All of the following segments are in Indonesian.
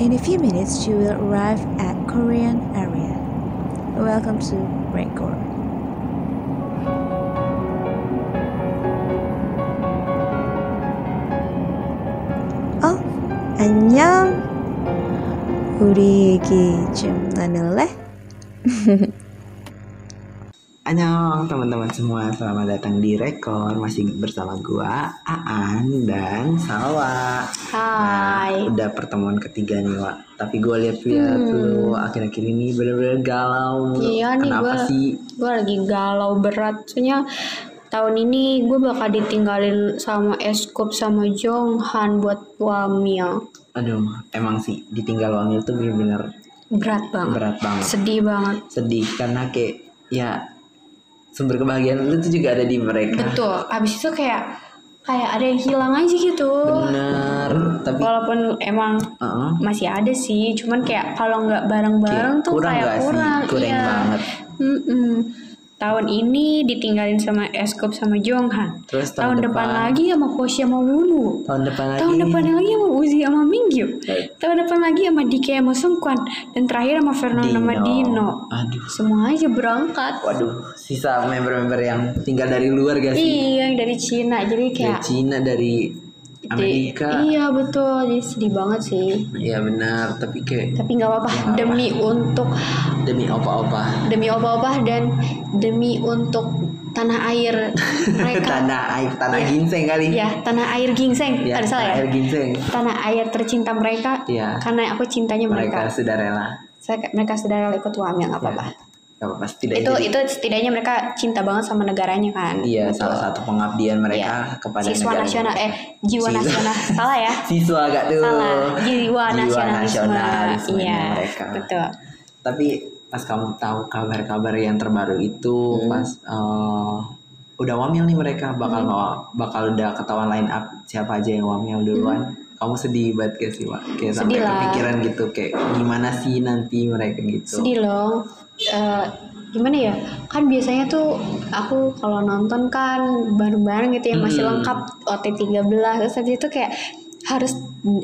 In a few minutes, you will arrive at Korean area. Welcome to Record. 어, 안녕. 우리 얘기 좀 나눌래? Annyeong teman-teman semua, selamat datang di Rekor Masih bersama gua, Aan, dan Salwa Nah, Hai. Udah pertemuan ketiga nih, Wak Tapi gua lihat-lihat Hmm. lu akhir-akhir ini bener-bener galau Iya nih, Kenapa gua- sih? Gue lagi galau berat. Soalnya tahun ini gue bakal ditinggalin sama Eskop sama Jonghan buat Wamia. Aduh, emang sih ditinggal wamil tuh bener-bener Berat banget. berat Nah. banget Sedih banget. Sedih, karena kayak ya sumber kebahagiaan lu tuh juga ada di mereka Betul. Abis itu kayak kayak ada yang hilang aja gitu. Bener, tapi Walaupun emang uh-uh. masih ada sih, cuman kayak kalau nggak bareng-bareng Kayak tuh kurang kayak nggak sih? kurang. Kurang Iya. banget. Mm-mm. Tahun ini ditinggalin sama Eskop sama Jonghan. Terus Tahun, depan, lagi sama Koshi sama Wulu. Tahun depan lagi Tahun depan lagi sama Uzi sama Mingyu. Tahun depan lagi sama Dike sama Sungkwan. Dan terakhir sama Vernon sama Dino. Aduh. Semua aja berangkat. Waduh, sisa member-member yang tinggal dari luar gak sih? Iya yang dari Cina. Jadi Dari kayak... Cina, dari Amerika. Iya betul. Jadi sedih banget sih. Iya benar, tapi kayak Tapi nggak apa-apa. apa-apa. Demi untuk... demi opa-opa Demi obah-obah dan demi untuk tanah air mereka. tanah air, tanah ginseng kali. ya, tanah air gingseng. Ya, Ada salah tanah ya? air ginseng. Tanah air tercinta mereka. Iya. Karena aku cintanya Mereka mereka. sudah rela. Iya. Saya, mereka saudara ikut wamil, nggak apa-apa. Gak apa-apa, setidaknya itu jadi- itu setidaknya mereka cinta banget sama negaranya kan Iya, Betul. Iya. salah satu pengabdian mereka kepada siswa negara nasional eh mereka. jiwa Siswa. nasional salah ya Siswa gak tuh. salah jiwa, nasionalisme. nasionalismenya iya mereka. betul Tapi pas kamu tahu kabar-kabar yang terbaru Hmm. itu pas eh, udah wamil nih mereka bakal Hmm. bawa- bakal udah ketahuan line up siapa aja yang wamil duluan. Kamu sedih banget gak sih, Wak? Kayak sampai Hmm. Sedih lah. kepikiran gitu kayak gimana sih nanti mereka gitu. sedih loh Eh, gimana ya kan biasanya tuh aku kalau nonton kan bareng-bareng gitu ya masih Mm-mm. lengkap OT 13 terus tadi itu kayak harus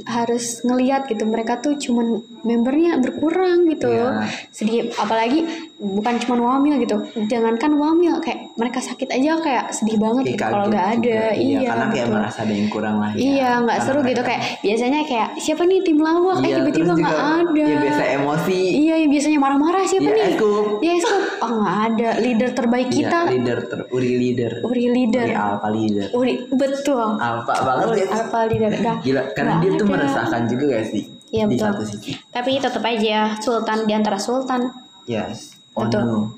harus ngelihat gitu mereka tuh cuman membernya berkurang gitu Iya. sedih apalagi bukan cuman wamil gitu jangankan wamil kayak mereka sakit aja kayak sedih banget Kayak gitu kalau kaget nggak ada juga. iya, karena kayak betul. merasa ada yang kurang lah ya. iya nggak Karena seru gitu mereka- kayak biasanya kayak siapa nih tim lawak Iya, eh tiba-tiba terus nggak juga ada Ya biasa emosi. iya yang biasanya marah-marah siapa Iya, nih Eskup. ya Eskup. oh nggak ada leader terbaik Iya, kita leader Iya. ter, Uri leader. Uri leader Uri alpha leader. Uri betul Alpha banget Uri ya. apa leader dah Gila, karena nggak dia tuh ada. meresahkan juga gak sih? Iya, di betul. satu sisi. tapi tetap aja sultan di antara sultan Ya, Yes. Oh, Betul. Ono.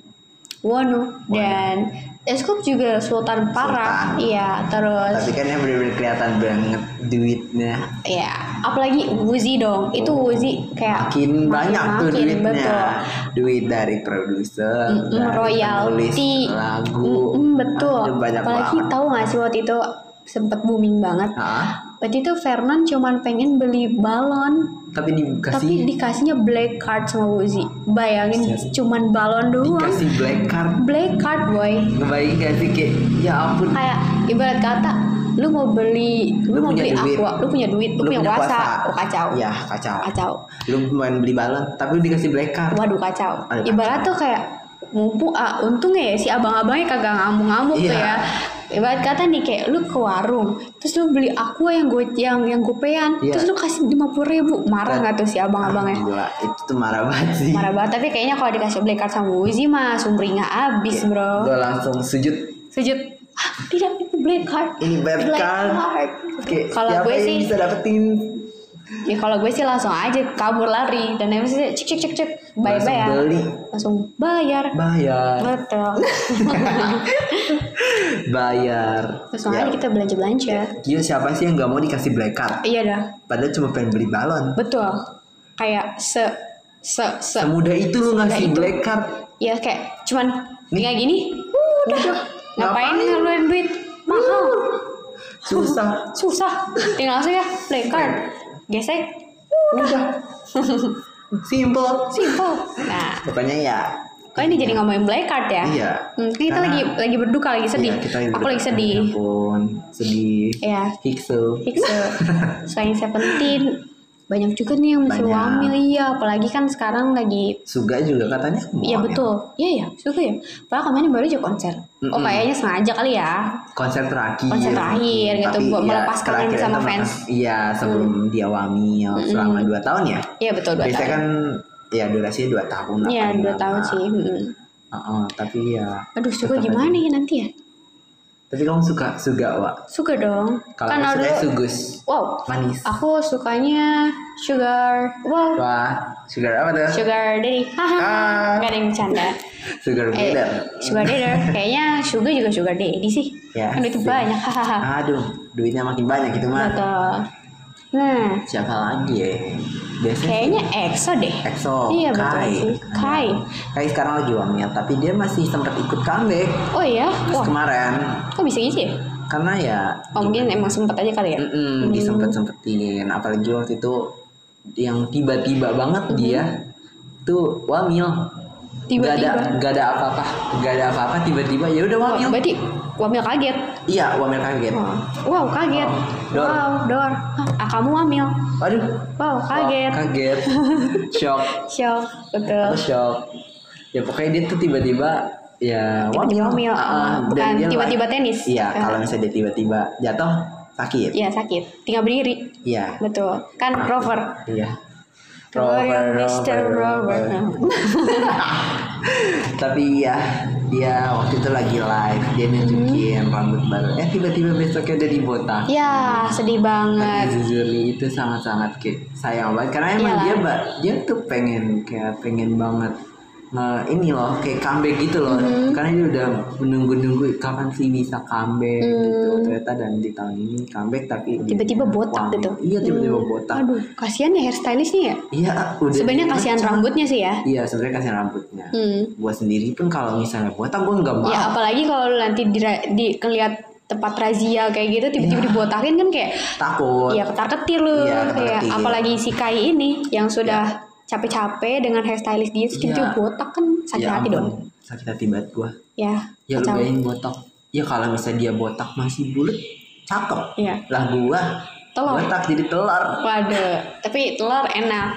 Wono dan Eskup juga sultan parah Sultan. iya terus Tapi kan yang bener-bener kelihatan banget duitnya. Ya, apalagi Wuzi dong. Itu Wuzi kayak Makin, banyak tuh makin, duitnya. Betul. Duit dari produser, Mm, dari royalti. penulis lagu. Mm, betul. Aduh, banyak apalagi banget. tahu nggak sih waktu itu sempet booming banget. Hah? Waktu itu Fernan cuman pengen beli balon, Tapi dikasih tapi dikasihnya black card sama Wuzi. Bayangin Buset. cuman balon doang. dikasih black card. Black card boy. Ngebayangin gak sih kayak ya ampun Kayak ibarat kata lu mau beli lu, Lu mau punya beli duit. aqua, lu punya duit, lu, punya kuasa. Oh, kacau. Ya, kacau. Kacau. Lu main beli balon tapi lu dikasih black card. Waduh kacau. Aduh, Ibarat tuh kayak mumpung ah, untungnya ya si abang-abangnya kagak ngamuk-ngamuk tuh Iya. ya. Ibarat kata nih kayak lu ke warung, terus lu beli aqua yang gue yang yang gopean, Iya. Ah. terus lu kasih lima ribu, marah nggak tuh si abang-abangnya? Gila, itu tuh marah banget sih. ya? Marah banget. Tapi kayaknya kalau dikasih black card sama Wuzi mah sumringah abis bro. Gue langsung sujud. Sujud. "Ah, tidak itu black card. Ini black card." kan? Kayak Kalau siapa gue yang sih bisa dapetin ya kalau gue sih langsung aja kabur lari dan habis itu cek cek cek cek bye Langsung bye ya. beli. Langsung bayar. bayar, Betul. bayar. Ya. Terus Iya. makanya kita belanja-belanja. Gila siapa sih yang gak mau dikasih black card? Iya dah, Padahal cuma pengen beli balon. betul. Kayak se se se Semudah itu lu ngasih black card. ya kayak cuman Nih. kayak gini. Udah. Ngapain ngeluarin duit? Mahal. Susah. Susah. Tinggal langsung ya play card. Gesek. Udah. Simple. Simple. Nah, Pokoknya ya. kok Oh, ini jadi ngomongin play card ya? Iya. Hmm, kan kita Karena- lagi lagi berduka lagi sedih. Iya, kita Aku lagi berdekat. sedih. Ya ampun, sedih. Iya. Hiksu. Hiksu. Selain Seventeen, banyak juga nih yang masih Banyak. wamil iya apalagi kan sekarang lagi Suga juga katanya mau Iya wamil. betul, iya ya suka ya. Padahal kemarin baru aja konser. Oh Mm-mm. kayaknya sengaja kali ya. konser terakhir iya, Konser terakhir gitu, buat melepas kangen terakhir sama itu fans. Hmm. melepas- iya sebelum dia wamil selama 2 tahun ya Iya betul dua biasanya tahun. kan ya durasinya 2 tahun lah Iya paling dua lama. tahun sih. mm-mm. Heeh, tapi ya Aduh suka Tetap gimana ya nanti ya? tapi kamu suka suga Wak Suka dong. kalau aku Kan suka dulu. sugus Wow. manis Aku sukanya sugar. Wow. wah sugar apa tuh Sugar daddy. Ah. Haha. Gak ada yang bercanda. sugar Eh, glider sugar daddy. Kayaknya sugar juga sugar daddy sih. Ya, Kan itu sih. banyak. Hahaha. aduh duitnya makin banyak itu mah Betul. Nah, siapa lagi ya biasanya kayaknya EXO deh. EXO Iya, betul Oh, Kai sih. Kai. Kai sekarang lagi wamil tapi dia masih sempat ikut comeback Oh iya, Terus wah kemarin kok bisa gitu ya? karena ya Oh mungkin emang sempet aja kali ya? mm disempet sempetin apalagi waktu itu yang tiba-tiba banget Hmm. dia tuh wamil gak Tiba-tiba. ada gak ada apa-apa gak ada apa-apa tiba-tiba ya udah Wah, wamil berarti wamil kaget. iya wamil kaget Wah, Wow kaget. Wow, Dor. Wow dor. Hah, ah, kamu wamil. waduh Wow kaget. Wah, kaget shock Shock betul. aku shock ya pokoknya dia tuh tiba-tiba ya Tiba-tiba wamil wamil, Ah, ah, ah, dan bukan dia tiba-tiba like- tenis. iya Ah. kalau misalnya dia tiba-tiba jatuh sakit Iya sakit. Tinggal berdiri. iya Betul. Kan rover. iya Rover, Rover, Mr. Rover. Nah. Rover. tapi ya dia waktu itu lagi live dia nunjukin rambut baru eh tiba-tiba besoknya dia dibotak Ya sedih tapi banget. jujur nih itu sangat-sangat kayak sayang banget karena emang Iyalah. dia mbak dia tuh pengen kayak pengen banget nge- ini loh kayak comeback gitu loh Mm-hmm. karena dia udah menunggu-nunggu kapan sih bisa comeback gitu ternyata dan di tahun ini comeback tapi udah Mm. Tiba-tiba botak wamil. gitu. iya tiba-tiba botak Aduh, kasihan ya hairstylistnya ya. iya udah Sebenarnya kasihan rambutnya sih ya. iya sebenarnya kasihan rambutnya Hmm. gue sendiri pun kalau misalnya botak gue nggak mau Ya apalagi kalau lu nanti di, di keliat tempat razia kayak gitu tiba-tiba dibotakin kan kayak takut ya ketar ketir Ya. lu Iya, ketar kayak ketir. Ya. apalagi si Kai ini yang sudah capek-capek dengan hairstylist dia terus Iya. tiba-tiba botak kan sakit Ya hati ampun, dong. sakit hati banget gue Ya. ya lu kacau. bayangin botak ya kalau misalnya dia botak masih bulat cakep Iya. lah gua Telur. botak jadi telur Waduh, tapi telur enak.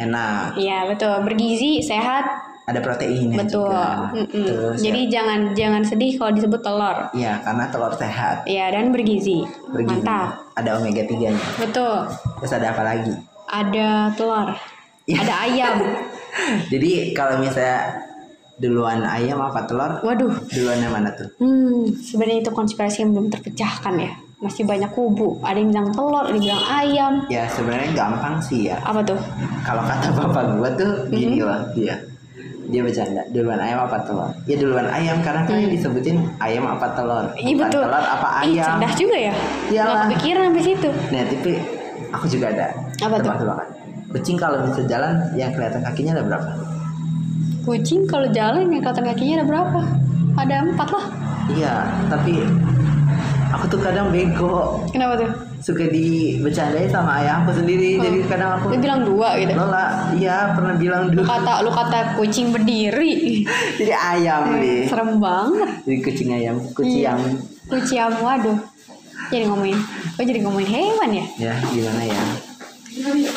enak Iya, betul. Bergizi, sehat, ada proteinnya betul. Ya juga Mm-mm. terus Jadi jangan jangan sedih kalau disebut telur. ya, ya, karena telur sehat Iya, dan bergizi. bergizi Mantap. ada omega 3 nya Betul. terus ada apa lagi Ada telur. Iya. Ada ayam. jadi kalau misalnya duluan ayam apa telur Waduh, duluannya mana tuh Hmm, sebenarnya itu konspirasi yang belum terpecahkan ya. Masih banyak kubu. Ada yang bilang telur, ada yang bilang ayam. ya sebenarnya gampang sih ya Apa tuh? kalau kata bapak gua tuh Mm-hmm. gini loh dia dia bercanda duluan ayam apa telur ya duluan ayam karena kan yang disebutin ayam apa telur Mm. Iya Bukan betul. telur apa Ih, ayam Iya cerdas juga ya. Iyalah. Nggak kepikiran sampai situ. nah tapi aku juga ada Apa tuh? tebak-tebakan kucing kalau bisa jalan yang kelihatan kakinya ada berapa Kucing kalau jalan yang kelihatan kakinya ada berapa? Ada empat lah. iya tapi aku tuh kadang bego Kenapa tuh? suka dibercandain sama ayah aku sendiri jadi kadang aku Lu Hmm. bilang dua gitu. Lola, iya pernah bilang Lu dulu kata lu kata kucing berdiri. jadi ayam nih Serem Iya. banget. jadi kucing ayam kucing yang Kucing ayam, waduh. Jadi ngomongin, oh jadi ngomongin hewan ya? ya gimana ya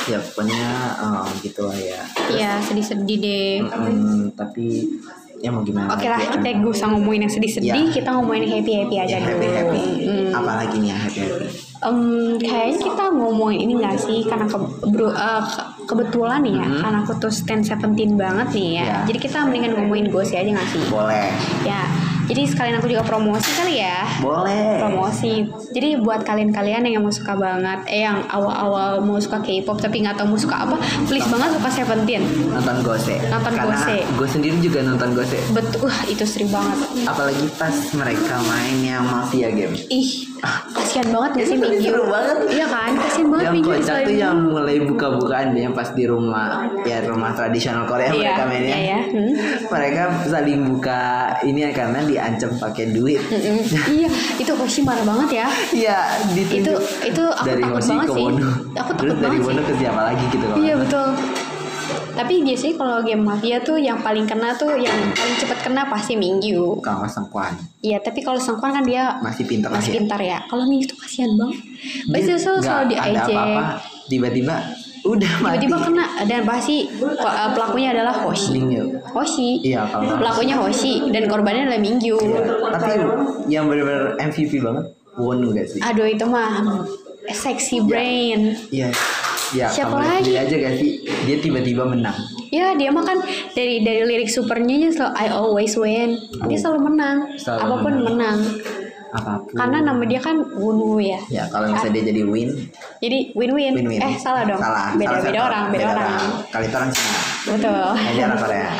ya pokoknya eh, gitu lah ya Iya, sedih-sedih deh. Mm, tapi ya mau gimana Oke lagi lah, ya kita kan? gak usah ngomongin yang sedih-sedih, Iya. kita ngomongin happy-happy aja ya, dulu. happy happy Hmm. apalagi nih yang happy happy Em, kayaknya kita ngomongin ini gak sih karena ke, bro- eh, ke- kebetulan nih ya Mm-hmm. karena aku tuh stand 17 banget nih ya Ya. jadi kita mendingan ngomongin gosip aja gak sih boleh ya jadi sekalian aku juga promosi kali ya boleh promosi jadi buat kalian-kalian yang mau suka banget eh yang awal-awal mau suka K-pop tapi nggak tahu mau suka apa please banget suka Seventeen nonton gose Nonton karena Gose. gue sendiri juga nonton gose betul wah, itu seru banget apalagi pas mereka main yang mafia game ih kasihan banget gak sih Itu Mingyu seru banget. iya kan kasihan banget yang Mingyu kocak tuh ya. disalahin yang mulu. mulai buka-bukaan dia pas di rumah ya rumah tradisional Korea Iya, mereka mainnya iya, iya. Hmm. mereka saling buka ini ya, karena diancam pakai duit Mm-mm. iya itu Hoshi marah banget ya Iya, ditunjuk. itu itu aku dari takut Hoshi banget ke sih Wono. aku Terus takut dari banget Wono sih ke siapa lagi gitu loh. iya betul tapi biasanya kalau game mafia tuh yang paling kena tuh yang paling cepat kena pasti Mingyu Kalau nggak Sengkuan iya tapi kalau Sengkuan kan dia masih ya. pintar masih ya. pintar ya kalau Mingyu tuh kasihan banget pasti selalu, selalu di ada apa-apa. Tiba-tiba, udah mati tiba-tiba kan- kena dan pasti ko- eh, pelakunya adalah Hoshi Mingyu. Hoshi iya kalau nggak- pelakunya Hoshi dan korbannya adalah Mingyu Iya. tapi yang benar-benar MVP banget Wonu gak sih aduh itu mah sexy brain iya iya Siapa kamu lihat lagi? sendiri aja gak sih dia tiba-tiba menang ya dia mah kan dari dari lirik supernya aja selalu I always win dia selalu menang Oh. Selalu Hmm. apapun menang, apapun karena nama dia kan Wunu ya ya kalau misalnya dia jadi win jadi win-win win-win eh salah dong salah beda salah beda satu orang beda orang kali itu orang Cina betul hanya orang Korea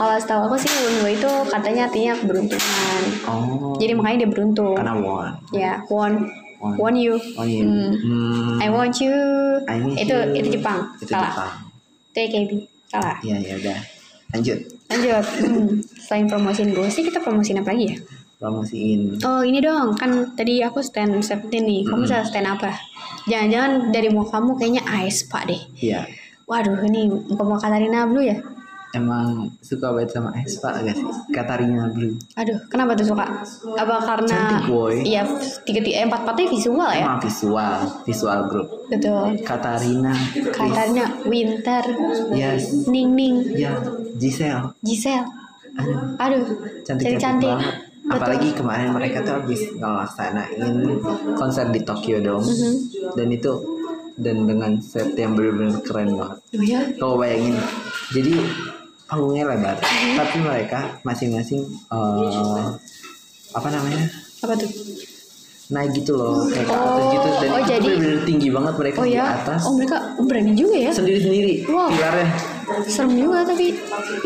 kalau setahu aku sih Wunu itu katanya artinya keberuntungan oh jadi makanya dia beruntung karena won ya won Won. won you oh iya Hmm. Hmm. I want you I want itu you. itu Jepang itu salah Jepang itu AKB salah iya ya udah lanjut lanjut Hmm. selain promosiin gosip kita promosiin apa lagi ya promosiin Oh ini dong, kan tadi aku stand safety nih. Kamu salah stand apa? Jangan-jangan dari muka kamu kayaknya ice pak deh. iya Waduh, ini muka muka Katarina Blue ya? emang suka banget sama Espa gak sih Katarina Blue Aduh, kenapa tuh suka? Apa karena Cantik, boy. Iya, tiga tiga eh, empat empatnya visual ya? emang visual visual group Betul. Katarina please. Katarina Winter, yes Ning Ning, ya Giselle Giselle. Aduh, cantik cantik, cantik-cantik. banget Betul. apalagi kemarin mereka tuh habis ngelaksanain konser di Tokyo Dome Mm-hmm. dan itu dan dengan set yang benar-benar keren banget Duh ya, Coba bayangin. Jadi panggungnya lebar, Mm-hmm. tapi mereka masing-masing eh, apa namanya? apa tuh? Naik gitu loh, kayak ke atas Oh, gitu dan oh, itu jadi- benar-benar tinggi banget mereka Oh di ya, atas. oh mereka berani juga ya? Sendiri-sendiri Wow. pilarnya. Serem juga tapi,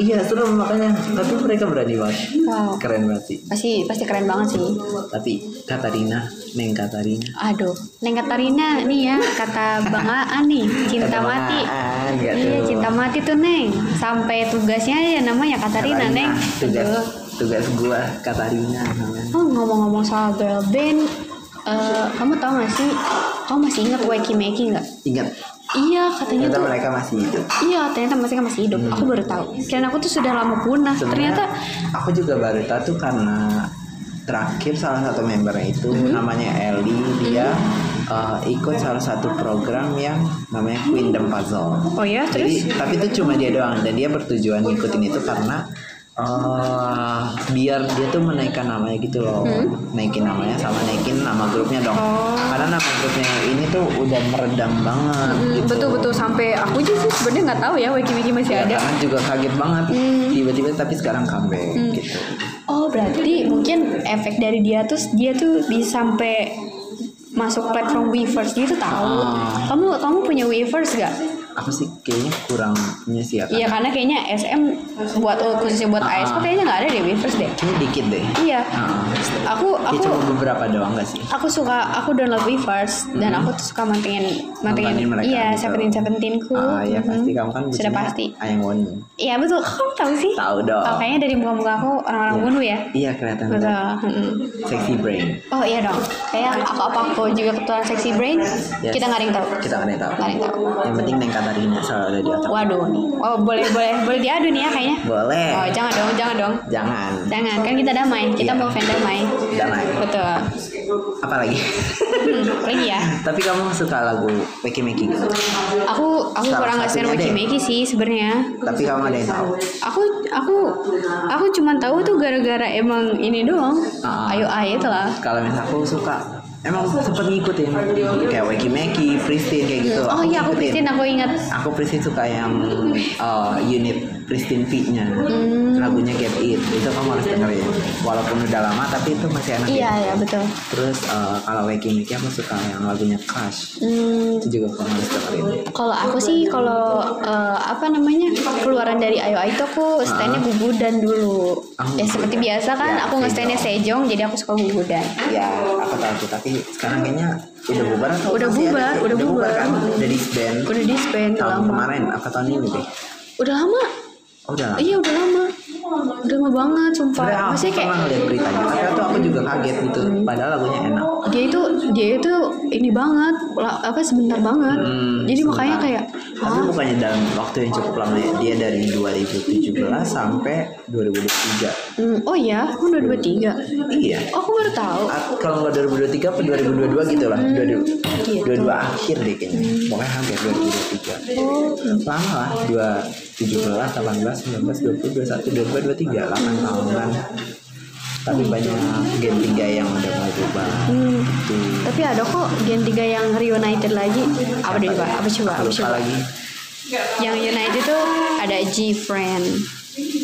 Iya, serem makanya. Tapi mereka berani banget. wow, Keren banget sih. pasti pasti keren banget sih. Tapi Katarina, Neng Katarina. Aduh, Neng Katarina nih ya kata Bang Aan nih, cinta Kata Bang mati. Aan, gak Iya, tuh. cinta mati tuh Neng. Sampai tugasnya ya namanya Katarina, Neng. Tugas, Aduh. tugas gua Katarina namanya. Oh, ngomong-ngomong soal girl band, eh, kamu tau gak sih? Kamu masih ingat Wacky Making nggak? Ingat, Iya, katanya ternyata tuh. mereka masih Hmm. hidup. Iya, ternyata masih masih hidup. Aku baru tahu. Kirain aku tuh sudah lama punah. Sebenarnya, Ternyata aku juga baru tahu tuh karena terakhir salah satu membernya itu Mm-hmm. namanya Ellie dia uh, ikut salah satu program yang namanya Queendom Puzzle. Oh ya, terus? Jadi, tapi itu cuma dia doang dan dia bertujuan ngikutin itu karena uh, biar dia tuh menaikkan namanya gitu loh, naikin namanya sama naikin nama grupnya dong. Mm-hmm. Oh. Karena nama grupnya ini tuh udah meredam banget. Mm-hmm. gitu. betul-betul Hmm, sampai aku juga sih sebenarnya nggak tahu ya Wacky Making masih Ya, ada. Mm-hmm. karena juga kaget banget tiba-tiba tapi sekarang comeback Mm. gitu. Oh berarti mungkin efek dari dia tuh dia tuh bisa sampai masuk platform Weverse dia tuh tahu. Ah. Kamu kamu punya Weverse gak? aku sih kayaknya kurang punya sih ya Iya kan karena kayaknya SM buat oh, khususnya buat Ah. AS tuh kayaknya nggak ada deh Weverse deh. kayaknya dikit deh Iya. Heeh. Aku ya aku cuma beberapa doang gak sih aku suka aku download Weverse dan aku tuh suka mantengin Nontonin mantengin Mm-hmm. mereka iya gitu. Seventeen Seventeen ku. ah ya Mhm. pasti kamu kan Sudah bucinya pasti. ayam wonu Iya betul kamu tahu sih. tahu dong Oh, kayaknya dari muka-muka aku orang-orang bunuh ya. iya kelihatan Betul. banget. mhm. sexy brain Oh iya dong, kayak aku apa aku juga ketua seksi brain, Yes. kita nggak ada yang tahu. kita gak ada yang tahu Nggak ada yang tahu. yang penting neng Katarina selalu ada di otak Waduh nih, oh boleh boleh boleh diadu nih ya kayaknya. boleh Oh jangan dong, jangan dong, jangan jangan kan kita damai, kita Iya. mau fan damai. Damai. Betul. apalagi Hmm, lagi ya, tapi kamu suka lagu Peki Meki aku aku Salah kurang nggak satunya share Wiki deh. Meki sih sebenarnya. tapi kamu ada yang tahu Aku aku aku cuma tahu tuh gara-gara emang ini doang. Ah. Ayo ayo lah. kalau misalnya aku suka emang sempet ngikutin kayak Weki Meki Pristine kayak gitu Oh iya aku ngikutin. Christine aku ingat. Aku Pristin suka yang uh, unit Pristin P-nya Hmm. Lagunya Get It Itu kamu harus dengerin Walaupun udah lama tapi itu masih enak Iya ya. iya betul. Terus uh, kalau Waking Mickey aku suka yang lagunya Crush Hmm, Itu juga kamu harus dengerin Kalau aku sih kalau eh, apa namanya keluaran dari IOI itu aku standnya gugudan dulu. Ah, ya seperti biasa kan Ya, aku nge standnya sejong jadi aku suka gugudan. Ya aku tahu tuh tapi sekarang kayaknya udah bubar atau Udah masih ada bubar, sih? udah bubar. kan Udah disband Udah disband Tahun lama. kemarin apa tahun ini deh Udah lama. Oh udah lama Iya udah lama. Udah lama banget sumpah. Padahal aku Maksudnya kayak Hmm. pernah ngeliat beritanya Padahal tuh aku juga kaget gitu Padahal lagunya enak dia itu dia itu ini banget la- apa sebentar banget Hmm, jadi makanya sebentar. kayak Tapi "Hah?" bukannya dalam waktu yang cukup lama ya. Dia dari 2017 sampai 2023 Hmm, oh iya aku udah dua tiga Iya oh, aku baru tahu At- Kalau nggak 2023 atau 2022 gitu lah 22, gitu. 22 akhir deh kayaknya Hmm. Pokoknya hampir 2023 oh Lama lah 2, 17, 18, 19, 20, 21, 22, 23 8 tahunan Tapi banyak gen 3 yang udah mulai berubah Gitu. hmm. Itu tapi ada kok gen 3 yang reunited lagi apa deh coba apa coba apa Lupa coba lagi yang united tuh ada G friend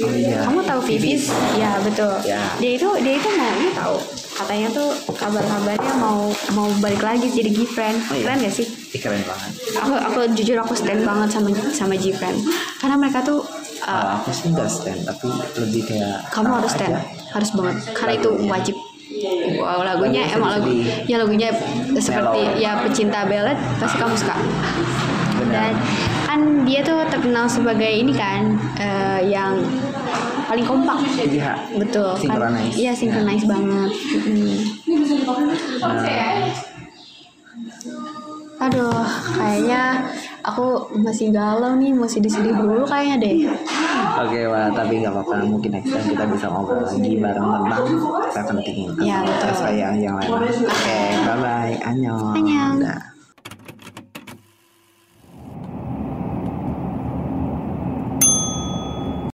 Oh iya kamu tahu Vivis ya betul Ya. dia itu dia itu mau ini tahu katanya tuh kabar-kabarnya mau mau balik lagi jadi G friend Oh, iya. keren gak sih Ih, keren banget aku aku jujur aku stand banget sama sama Gfriend karena mereka tuh uh, Kalau aku sih nggak stand tapi lebih kayak kamu tahu harus stand aja. harus banget karena itu Lagunya. wajib Wow, lagunya Lagunya emang lagu sedih-sedih. ya lagunya seperti ya pecinta ballad pasti kamu suka dan Benar. kan dia tuh terkenal sebagai ini kan eh, yang paling kompak Iya. betul kan Synchronize. iya synchronize banget Mm. Nah, aduh kayaknya aku masih galau nih masih sedih dulu kayaknya deh Oke, Wak, tapi nggak apa-apa. Mungkin next time kita bisa ngobrol lagi bareng tentang ya, Seventeen. Iya, betul. Saya yang lain. Oke, bye-bye. Annyeong. Annyeong. Dah.